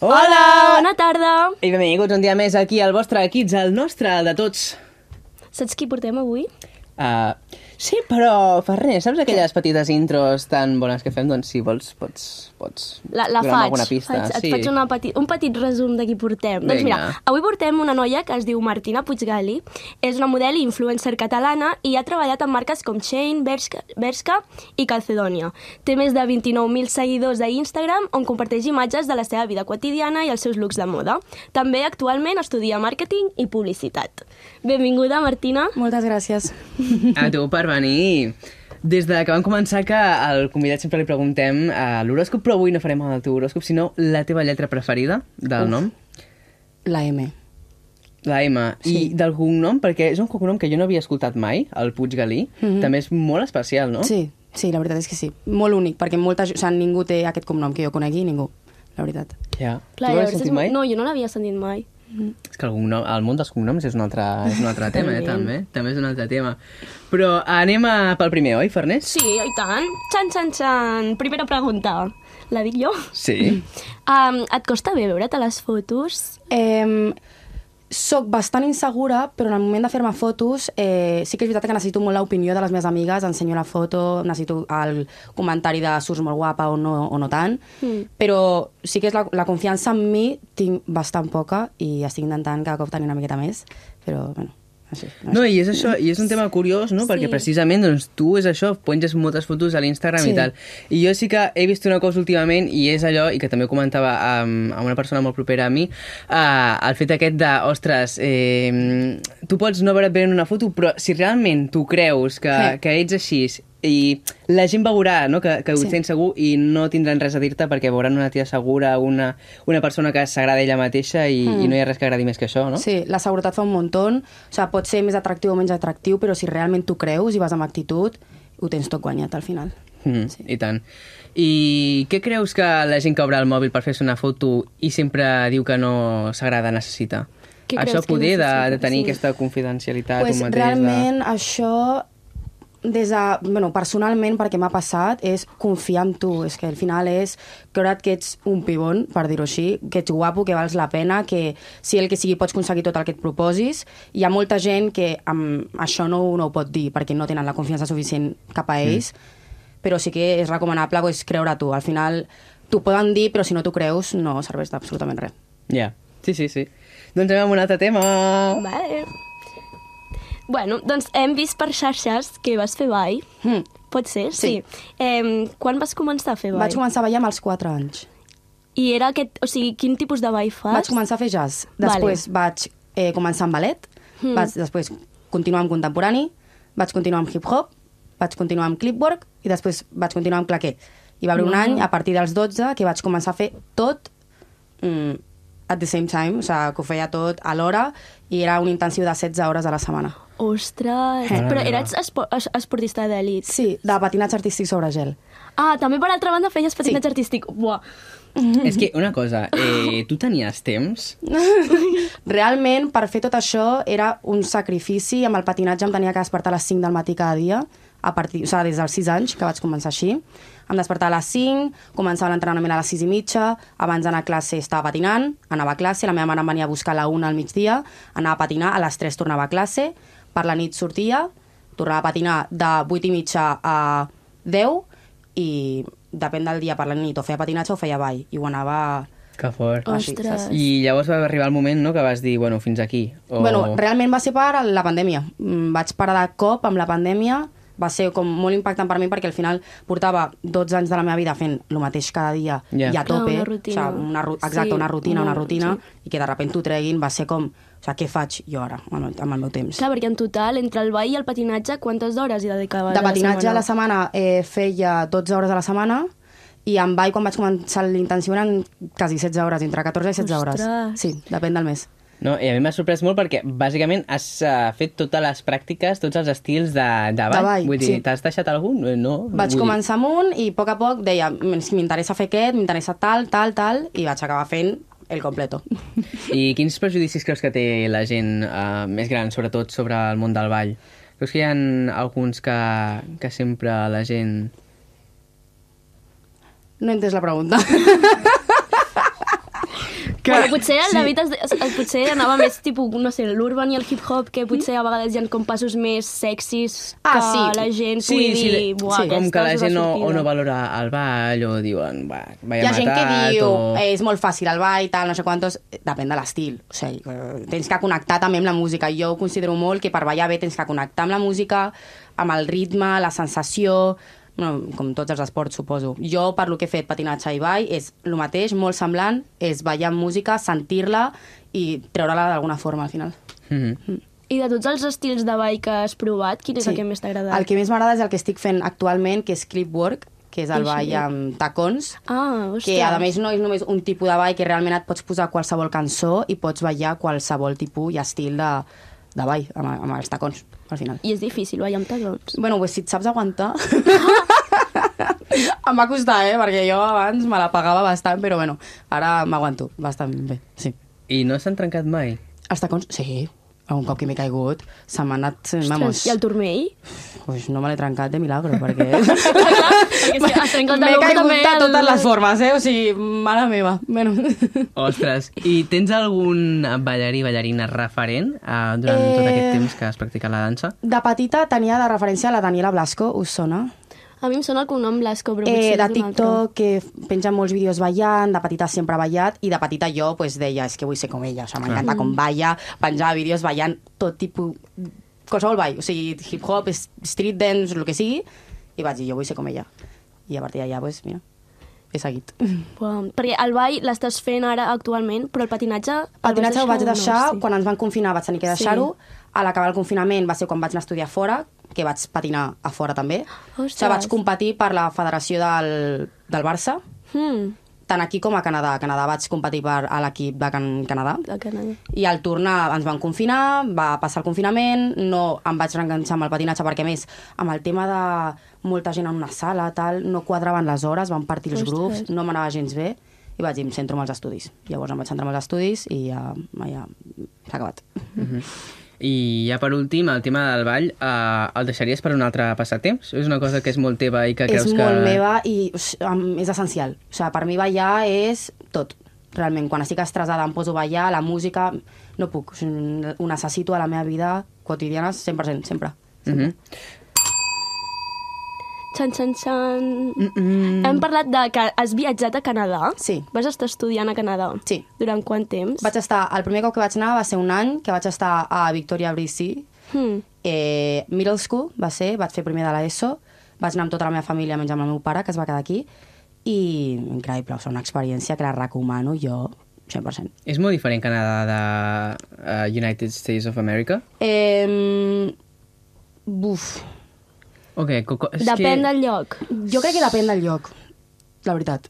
Hola! Bona tarda! I benvinguts un dia més aquí al vostre Kids, al nostre, al de tots. Saps qui portem avui? Uh, sí, però, Ferrer, saps aquelles petites intros tan bones que fem? Doncs si vols, pots, pots La, la donar-me faig. alguna pista. faig et sí. faig una peti, un petit resum de qui portem. Doncs mira, Vinga. avui portem una noia que es diu Martina Puiggali. És una model i influencer catalana i ha treballat en marques com Chain, Bershka, Bershka i Calcedonia. Té més de 29.000 seguidors a Instagram on comparteix imatges de la seva vida quotidiana i els seus looks de moda. També actualment estudia màrqueting i publicitat. Benvinguda, Martina. Moltes gràcies. A tu per venir. Des de que vam començar que al convidat sempre li preguntem uh, l'horòscop, però avui no farem el teu horòscop, sinó la teva lletra preferida del Uf. nom, La M. la M, sí. i del cognom, perquè és un cognom que jo no havia escoltat mai, el Puiggalí, mm Mhm. -hmm. també és molt especial, no? Sí, sí, la veritat és que sí. Molt únic, perquè molta, o sigui, ningú té aquest cognom que jo conegui, ningú, la veritat. Ja. Clar, tu l'has llavors sentit és- mai? No, jo no l'havia sentit mai. És que el, cognom, el món dels cognoms és un altre, és un altre tema, eh, també. També és un altre tema. Però anem a, pel primer, oi, Farners? Sí, i tant. Xan, xan, xan. Primera pregunta. La dic jo? Sí. Um, et costa bé veure't a les fotos? Eh, soc bastant insegura, però en el moment de fer-me fotos eh, sí que és veritat que necessito molt l'opinió de les meves amigues, ensenyo la foto, necessito el comentari de surts molt guapa o no, o no tant, mm. però sí que és la, la confiança en mi tinc bastant poca i estic intentant cada cop tenir una miqueta més, però bueno, així. No, i és això, i és un tema curiós, no? Sí. Perquè precisament, doncs, tu és això, penges moltes fotos a l'Instagram sí. Sí. i tal. I jo sí que he vist una cosa últimament, i és allò, i que també ho comentava amb, amb una persona molt propera a mi, eh, el fet aquest de, ostres, eh, tu pots no veure't bé en una foto, però si realment tu creus que, sí. Sí. que ets així, i la gent veurà no? que, que ho Sí. sents segur i no tindran res a dir-te perquè veuran una tia segura, una, una persona que s'agrada ella mateixa i, mm. i no hi ha res que agradi més que això, no? Sí, la seguretat fa un muntón. O sigui, pot ser més atractiu o menys atractiu, però si realment tu creus i vas amb actitud, ho tens tot guanyat al final. Mm, sí. I tant. I què creus que la gent que obre el mòbil per fer-se una foto i sempre diu que no s'agrada necessita? Què Això creus que poder de, necessita? de tenir Sí. sí. aquesta confidencialitat Pues, tu mateix... realment, això des de, bueno, personalment, perquè m'ha passat, és confiar en tu. És que al final és creure't que ets un pibon, per dir-ho així, que ets guapo, que vals la pena, que si el que sigui pots aconseguir tot el que et proposis. Hi ha molta gent que amb això no, ho- no ho pot dir, perquè no tenen la confiança suficient cap a ells, mm. però sí que és recomanable pues, creure tu. Al final t'ho poden dir, però si no t'ho creus no serveix d'absolutament res. De... Yeah. Sí, sí, sí. Doncs anem amb un altre tema. Vale. Bueno, doncs hem vist per xarxes que vas fer ball. Mm. Pot ser? Sí. Em, quan vas començar a fer ball? Vaig començar a ballar amb els 4 anys. I era aquest... O sigui, quin tipus de ball fas? Vaig començar a fer jazz. Vale. Després vaig eh, començar amb ballet, mm. vaig després continuar amb contemporani, vaig continuar amb hip-hop, vaig continuar amb clipwork i després vaig continuar amb claqué. I va haver un any, a partir dels 12, que vaig començar a fer tot mm, at the same time, o sigui, que ho feia tot a l'hora i era un intensiu de 16 hores a la setmana. Ostres, Eh. Mare però meva. eres espo es- esportista d'elit. Sí, de patinatge artístic sobre gel. Ah, també per altra banda feies patinatge Sí. artístic. Buah. És que, una cosa, eh, tu tenies temps? Realment, per fer tot això, era un sacrifici. Amb el patinatge em tenia que despertar a les 5 del matí cada dia, a partir, o sigui, des dels 6 anys, que vaig començar així. Em despertava a les 5, començava l'entrenament a les 6 i mitja, abans d'anar a classe estava patinant, anava a classe, la meva mare em venia a buscar a la 1 al migdia, anava a patinar, a les 3 tornava a classe, per la nit sortia, tornava a patinar de 8 i mitja a 10, i depèn del dia per la nit, o feia patinatge o feia ball, i ho anava... Que fort. Així, Ostres. I llavors va arribar el moment, no?, que vas dir, bueno, fins aquí. O... Bueno, realment va ser per la pandèmia. Mm, Vaig parar de cop amb la pandèmia, va ser com molt impactant per mi perquè al final portava 12 anys de la meva vida fent el mateix cada dia Ja. i a tope, Clar, una rutina. O sigui, una, ru- exacte, Sí, Mm, una rutina, una una- rutina, i que de repente t'ho treguin va ser com, o sigui, què faig jo ara amb el, amb el meu temps? Clar, perquè en total, entre el ball i el patinatge, quantes hores hi dedicaves De patinatge a a la setmana eh, feia 12 hores a la setmana i en ball, quan vaig començar l'intensiu, eren quasi 16 hores, entre 14 i 16 Ostres. hores. Sí, depèn del mes. No, I a mi m'ha sorprès molt perquè, bàsicament, has uh, fet totes les pràctiques, tots els estils de, de ball. ball, Vull dir, sí. t'has deixat algun? Eh, No. Vaig vull dir- començar amb un i a poc a poc deia m'interessa fer aquest, m'interessa tal, tal, tal, i vaig acabar fent el completo. I quins prejudicis creus que té la gent uh, més gran, sobretot sobre el món del ball? Creus que hi ha alguns que, que sempre la gent... No he entès la pregunta. Que... Bueno, potser el David es, es, es- potser anava més tipus, no sé, l'urban i el hip-hop, que potser a vegades hi ha com passos més sexis Ah, que sí. la gent Sí, pugui sí, dir... sí. Buah, aquesta com que la és gent no, o sortida." no valora el ball o diuen, va, Hi vaya ha gent que matat, diu, o... eh, és molt fàcil el ball, tal, no sé quantos... Depèn de l'estil. O sigui, eh, tens que connectar també amb la música. Jo ho considero molt que per ballar bé tens que connectar amb la música, amb el ritme, la sensació... Bueno, com tots els esports, suposo. Jo, per lo que he fet patinatge i ball, és el mateix, molt semblant, és ballar amb música, sentir-la i treure-la d'alguna forma al final. Mhm. I de tots els estils de ball que has provat, quin és el que més t'ha agradat? El que més m'agrada és el que estic fent actualment, que és clipwork, que és el Això. ball amb tacons, Ah, hòstia. que a més no és només un tipus de ball, que realment et pots posar qualsevol cançó i pots ballar qualsevol tipus i estil de, de ball, amb, amb els tacons, al final. I és difícil ballar amb tacons. Bueno, pues, si et saps aguantar... em va costar, eh? Perquè jo abans me la pagava bastant, però bueno, ara m'aguanto bastant bé, sí. I no s'han trencat mai? Els tacons, sí, un cop que m'he caigut, se m'ha anat... Vamos, I el turmell? pues no me l'he trencat de milagro, perquè... perquè si has trencat M'he l'ull caigut també de el- totes les formes, eh? O sigui, mare meva. Bueno. Ostres, i tens algun ballarí, ballarina referent eh, durant eh... tot aquest Eh. temps que has practicat la dansa? De petita tenia de referència la Daniela Blasco, us sona? A mi em sona el cognom Blasco, però potser Eh, de és un altre. TikTok, que penja molts vídeos ballant, de petita sempre ha ballat, i de petita jo pues, deia, és que vull ser com ella, o sigui, Ah. m'encanta com balla, penjar vídeos ballant, tot tipus, qualsevol ball, o sigui, hip-hop, es- street dance, el que sigui, i vaig dir, jo vull ser com ella. I a partir d'allà, pues, mira, he seguit. Uau, perquè el ball l'estàs fent ara actualment, però el patinatge... El patinatge ho vaig deixar o no? Sí. quan ens van confinar, vaig tenir que deixar-ho. A l'acabar el confinament va ser quan vaig anar a estudiar fora, que vaig patinar a fora també. Ostres. O sigui, vaig competir per la federació del, del Barça, Hmm, tant aquí com a Canadà. A Canadà vaig competir per a l'equip de Can Canadà. de Canadà. I al tornar ens van confinar, va passar el confinament, no em vaig reenganxar amb el patinatge perquè, a més, amb el tema de molta gent en una sala, tal, no quadraven les hores, van partir els Ostres. grups, no m'anava gens bé, i vaig dir, em centro en els estudis. Llavors em vaig centrar en els estudis i ja, ja s'ha acabat. I ja per últim, el tema del ball, eh, el deixaries per un altre passatemps? És una cosa que és molt teva i que és creus que... molt meva i us, em- és essencial. O sigui, per mi ballar és tot. Realment, quan estic estressada em poso a ballar, la música, no puc. O sigui, Ho necessito a la meva vida quotidiana 100%, sempre. Mhm. Xan, xan, xan... Mm -mm. Hem parlat de que has viatjat a Canadà. Sí. Vas estar estudiant a Canadà. Sí. Durant quant temps? Vaig estar, el primer cop que vaig anar va ser un any, que vaig estar a Victoria Brissy, Hmm. eh, middle school va ser, vaig fer primer de l'ESO, vaig anar amb tota la meva família menys amb el meu pare, que es va quedar aquí, i increïble, o sigui, una experiència que la recomano jo 100%. És molt diferent Canadà de uh, United States of America? Eh, buf, Ok, coco, és Depèn que... del lloc. jo crec que depèn del lloc, la veritat,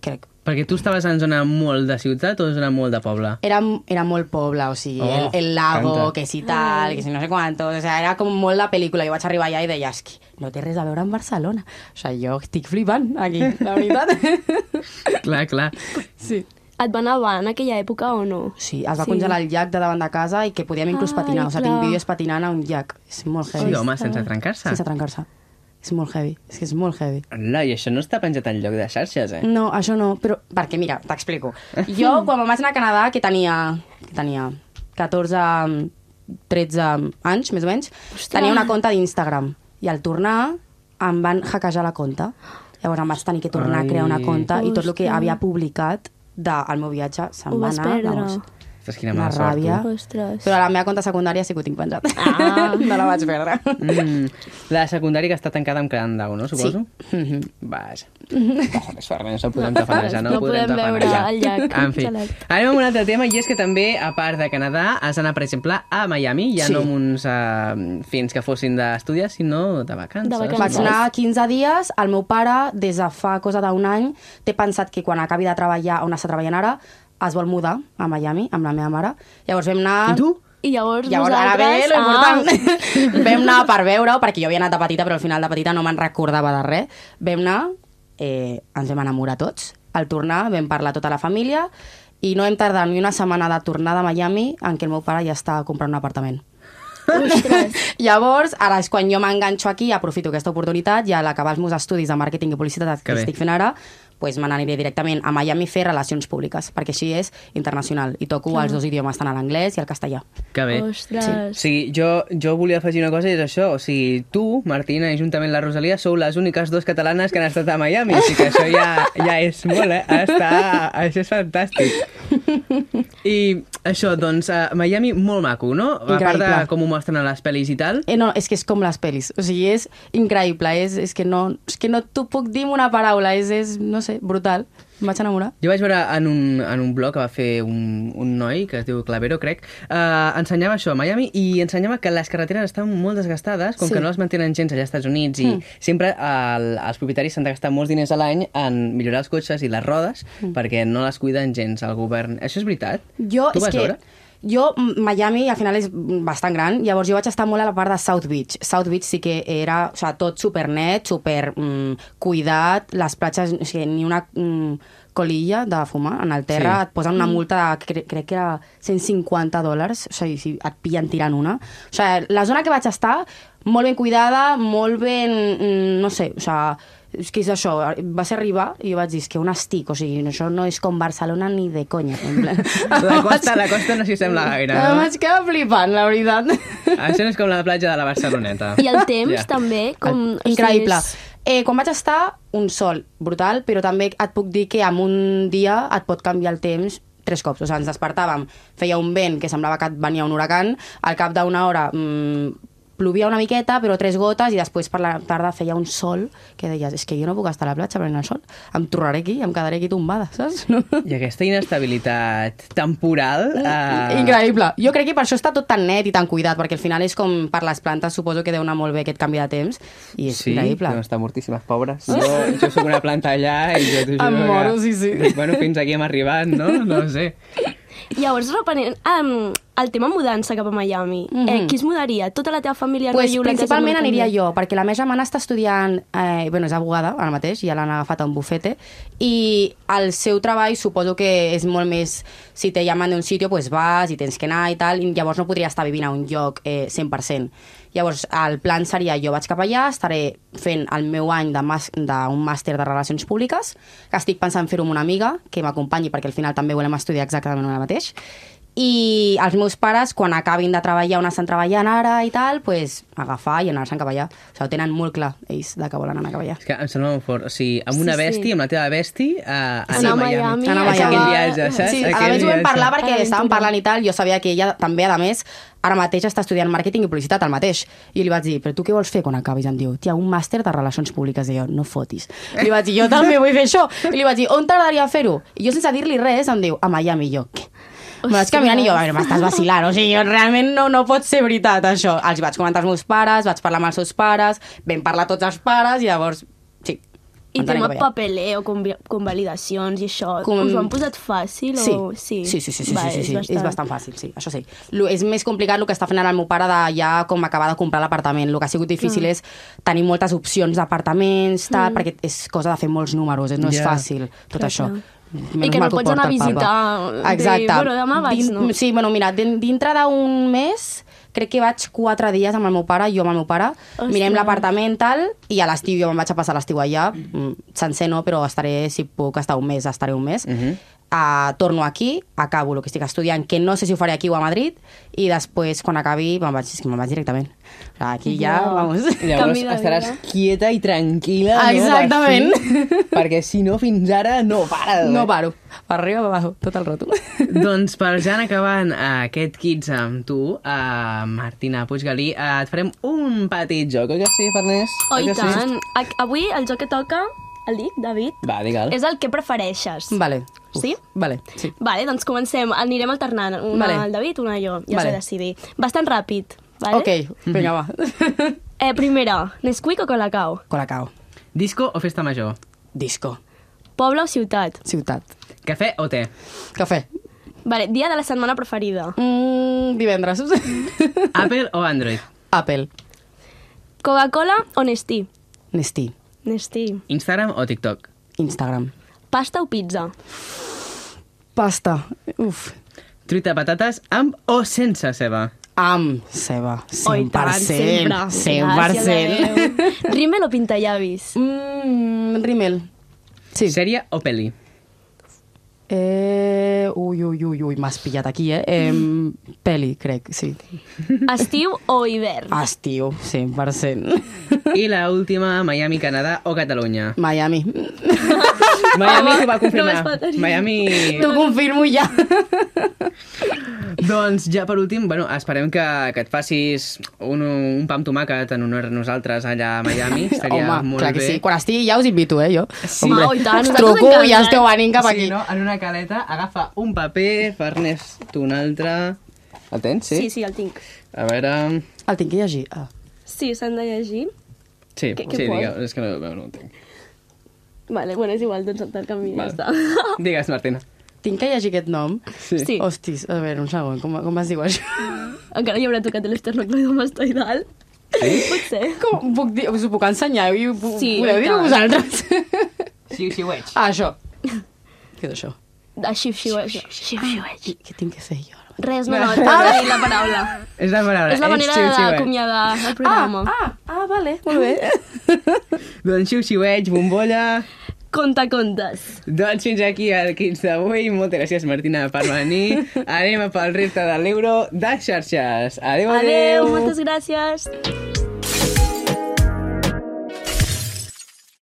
crec. Perquè tu estaves en zona molt de ciutat o en zona molt de poble? Era, era molt poble, o sigui, Oh, el, el lago, m'encanta. que si tal, que si no sé quantos, o sigui, era com molt la pel·lícula. Jo vaig arribar allà i deia, és que no té res a veure amb Barcelona. O sigui, jo estic flipant aquí, la veritat. Clar, clar. sí. Et va nevar en aquella època o no? Sí, es va Sí. sí. congelar el llac de davant de casa i que podíem inclús Ai, patinar. O sigui, clar. tinc vídeos patinant a un llac. És molt Sí, heavy. home, sense trencar-se. Sense trencar-se. És molt heavy. És que és molt heavy. Hola, i això no està penjat en lloc de xarxes, eh? No, això no, però... Perquè, mira, t'explico. Jo, quan me'n vaig anar a Canadà, que tenia, que tenia 14, 13 anys, més o menys, Ostres. tenia una conta d'Instagram. I al tornar, em van hackejar la conta. Llavors em vaig tenir que tornar a crear una Ai. conta i tot el que Hòstia. havia publicat del meu viatge se'n Ho va vas anar. perdre. vamos, Ostres, quina una mala sort, tu. ràbia. Ostres. Però a la meva conta secundària sí que ho tinc penjat. Ah. no la vaig perdre. Mm, la secundària que està tancada amb Crandow, no, suposo? Sí. Mhm. Vaja. Joder, sort, no se'n podem tafanejar, no, no podem podem veure tafanejar. el llac En fi, gelat. anem amb un altre tema, i és que també, a part de Canadà, has d'anar, per exemple, a Miami, ja Sí. no amb uns uh, fins que fossin d'estudis, sinó de vacances. De vacances. Vaig anar 15 dies, el meu pare, des de fa cosa d'un any, té pensat que quan acabi de treballar on està treballant ara, es vol mudar a Miami amb la meva mare. Llavors vam anar... I tu? I llavors, Llavors, ara vosaltres... ve l'important. Ah. vam anar per veure-ho, perquè jo havia anat de petita, però al final de petita no me'n recordava de res. Vam anar, eh, ens vam enamorar tots. Al tornar vam parlar tota la família i no hem tardat ni una setmana de tornar de Miami en què el meu pare ja està comprant un apartament. Llavors, ara és quan jo m'enganxo aquí, aprofito aquesta oportunitat i a l'acabar els meus estudis de màrqueting i publicitat Que que, bé. estic fent ara, pues me n'aniré directament a Miami a fer relacions públiques, perquè així és internacional. I toco els dos idiomes, tant a l'anglès i al castellà. Que bé. O Ostres. sigui, jo, jo volia afegir una cosa i és això. O sigui, tu, Martina, i juntament la Rosalia sou les úniques dues catalanes que han estat a Miami. Així que això ja, ja és molt, eh? Està, això és fantàstic. I això, doncs, a Miami, molt maco, no? A part de Increïble. com ho mostren a les pel·lis i tal. Eh, no, és que és com les pel·lis. O sigui, és increïble. És, és que no, és que no t'ho puc dir amb una paraula. És, és no sé, brutal. Em vaig enamorar. Jo vaig veure en un, en un blog que va fer un, un noi, que es diu Clavero, crec, eh, ensenyava això a Miami i ensenyava que les carreteres estan molt desgastades, com Sí. que no les mantenen gens allà als Estats Units i sempre el, els propietaris s'han de gastar molts diners a l'any en millorar els cotxes i les rodes perquè no les cuiden gens al govern. Això és veritat? Jo, tu és vas que... veure? Jo, m- Miami, al final és mm, bastant gran, llavors jo vaig estar molt a la part de South Beach. South Beach sí que era, o sigui, tot supernet, super mm, cuidat, les platges, o sigui, ni una mm, colilla de fumar en el terra, Sí. et posen una multa de, cre crec que era 150 dòlars, o sigui, si et pillen tirant una. O sigui, la zona que vaig estar, molt ben cuidada, molt ben, mm, no sé, o sigui, és que és això, va ser arribar i jo vaig dir, és que on estic, o sigui, això no és com Barcelona ni de conya. En plan. La costa, la costa no s'hi sembla gaire, no? Em vaig quedar flipant, la veritat. Això no és com la platja de la Barceloneta. I el temps Ja. també, com... o sigui, Increïble. és- Eh, quan vaig estar, un sol brutal, però també et puc dir que en un dia et pot canviar el temps tres cops. O sigui, ens despertàvem, feia un vent que semblava que et venia un huracan, al cap d'una hora mm, plovia una miqueta, però tres gotes, i després per la tarda feia un sol que deies, és que jo no puc estar a la platja prenent el sol, em tornaré aquí, em quedaré aquí tombada, saps? No? I aquesta inestabilitat temporal... eh, Increïble. Jo crec que per això està tot tan net i tan cuidat, perquè al final és com per les plantes, suposo que deu anar molt bé aquest canvi de temps, i és sí, increïble. no, estan mortíssimes, pobres. Jo, jo sóc una planta allà i jo t'ho juro Em moro, que... sí, sí. Dic, Bueno, fins aquí hem arribat, no? No ho sé. Llavors, reprenent um, el tema mudança cap a Miami, mm Mhm. eh, qui es mudaria? Tota la teva família Pues, rotllo, la casa principalment americana? aniria jo, perquè la meva germana està estudiant, eh, bueno, és abogada ara mateix, ja l'han agafat a un bufete, i el seu treball suposo que és molt més, si te llaman d'un sitio, pues vas i tens que anar i tal, i llavors no podria estar vivint a un lloc eh, 100%. Llavors, el plan seria, jo vaig cap allà, estaré fent el meu any de mas- d'un màster de Relacions Públiques, que estic pensant fer-ho amb una amiga, que m'acompanyi, perquè al final també volem estudiar exactament el mateix, i els meus pares, quan acabin de treballar on estan treballant ara i tal, pues, agafar i anar-se'n cap allà. O sigui, ho tenen molt clar, ells, de que volen anar cap allà. És que em sembla molt fort. O sigui, amb una Sí, sí. bèstia, amb la teva bèstia, a, a Anar a Miami, Anar a Miami. a acabar- Aquell viatge, saps? Sí, a Aquell més ho vam viatge. parlar perquè Aventura. estàvem parlant i tal, jo sabia que ella també, a més, ara mateix està estudiant màrqueting i publicitat al mateix. I li vaig dir, però tu què vols fer quan acabis? Em diu, tia, un màster de relacions públiques. I jo, no fotis. Li vaig dir, jo també vull fer això. I li vaig dir, on t'agradaria fer-ho? I jo sense dir-li res em diu, a Miami. I jo, què? Me vaig caminant i jo, a veure, m'estàs vacilant, o sigui, jo realment no, no pot ser veritat això. Els vaig comentar als meus pares, vaig parlar amb els seus pares, vam parlar tots els pares i llavors, sí. I ens anem tema cap allà. papeleo, convi- convalidacions i això, Com- us ho han posat fàcil? Sí. O... Sí. Sí, sí, sí, sí, Va, sí, sí, sí. És bastant, és bastant fàcil, sí, això sí. Lo, és més complicat el que està fent ara el meu pare de ja com acabar de comprar l'apartament. El que ha sigut difícil Mm. és tenir moltes opcions d'apartaments, tal, perquè és cosa de fer molts números, és, no és Ja. fàcil tot això. Menys que no mal ho pots anar porta a el papa. visitar, dir, Exacte. bueno, demà vaig, no? Sí, bueno, mira, din- dintre d'un mes crec que vaig quatre dies amb el meu pare, jo amb el meu pare, Ostres. mirem l'apartament tal, i a l'estiu jo me'n vaig a passar l'estiu allà, mm, sencer no, però estaré, si puc estar un mes, estaré un mes, Mhm. Uh, torno aquí, acabo el que estic estudiant, que no sé si ho faré aquí o a Madrid, i després, quan acabi, me'n vaig, és que me'n vaig directament. O sigui, Aquí ja, Wow. vamos. Llavors Canvi de estaràs vida. quieta i tranquil·la, Exactament. no? Per fi, perquè si no, fins ara no para. No paro. Per arriba, per abajo, tot el rato. doncs per ja anar acabant eh, aquest Kids amb tu, eh, Martina Puiggalí, eh, et farem un petit joc, oi que sí, Farners? Oh, i que sí? tant. A- Avui el joc que toca, el dic, David, Va, digue'l. és el que prefereixes. Vale. Sí? Vale, sí. Vale, doncs comencem. Anirem alternant. Una Vale. el David, una jo. Ja Vale. sé decidir. Bastant ràpid. Vale? Vale? Ok, vinga, va. Eh, primera, Nesquik o Colacao? Colacao. Disco o festa major? Disco. Poble o ciutat? Ciutat. Cafè o té? Cafè. Vale, dia de la setmana preferida. Mm, divendres. Apple o Android? Apple. Coca-Cola o Nestí? Nestí. Nestí. Instagram o TikTok? Instagram. Pasta o pizza? Pasta. Uf. Truita de patates amb o sense ceba? Amb ceba. 100%. Oh, i tant, sempre. 100%. Gràcies a Déu. Rímel o pintallavis? Mm, rimel. Sí. Sèrie o pel·li? Eh, ui, ui, ui, ui, m'has pillat aquí, eh? eh? Peli, crec, sí. Estiu o hivern? Estiu, 100%. I la última, Miami, Canadà o Catalunya? Miami. Miami Home, ho va confirmar. només faltaria. Miami... T'ho confirmo ja. Doncs ja per últim, bueno, esperem que, que et facis un, un pa amb tomàquet en honor a nosaltres allà a Miami. Estaria Home, molt clar que bé. sí. Quan estigui ja us invito, eh, jo. Sí. Home, oi tant, us nosaltres truco i ja encantats. esteu venint cap sí, aquí. no? En una caleta, agafa un paper, Farnés, tu un altre... El tens, sí? Sí, sí, el tinc. A veure... El tinc que llegir. Ah. Sí, s'han de llegir. Sí, Què- què sí pos? digueu, és que no, no, no ho entenc. Vale, bueno, és igual, doncs te'l canvio, ja Vale. està. Digues, Martina. Tinc que llegir aquest nom? Sí. Sí. Hostis, a veure, un segon, com, com es diu això? Encara hi haurà tocat l'esternocleidomastoidal. Sí? Potser. Com, puc dir, us ho puc ensenyar i ho pu- Sí, podeu i dir-ho tant. vosaltres? Sí, sí, ho veig. ah, això. Què és això? De xiu-xiueig. Xiu-xiueig. Què tinc que fer jo? Res, no, no, t'he de dir la paraula. És la paraula. És la manera xiu, xiuet. d'acomiadar el programa. ah, ah, vale, molt bé. Doncs xiu-xiueig, bombolla... Conta contes. Doncs fins aquí el 15 d'avui. Moltes gràcies, Martina, per venir. Anem a pel repte de l'euro de xarxes. Adéu, adéu. Adeu, moltes gràcies.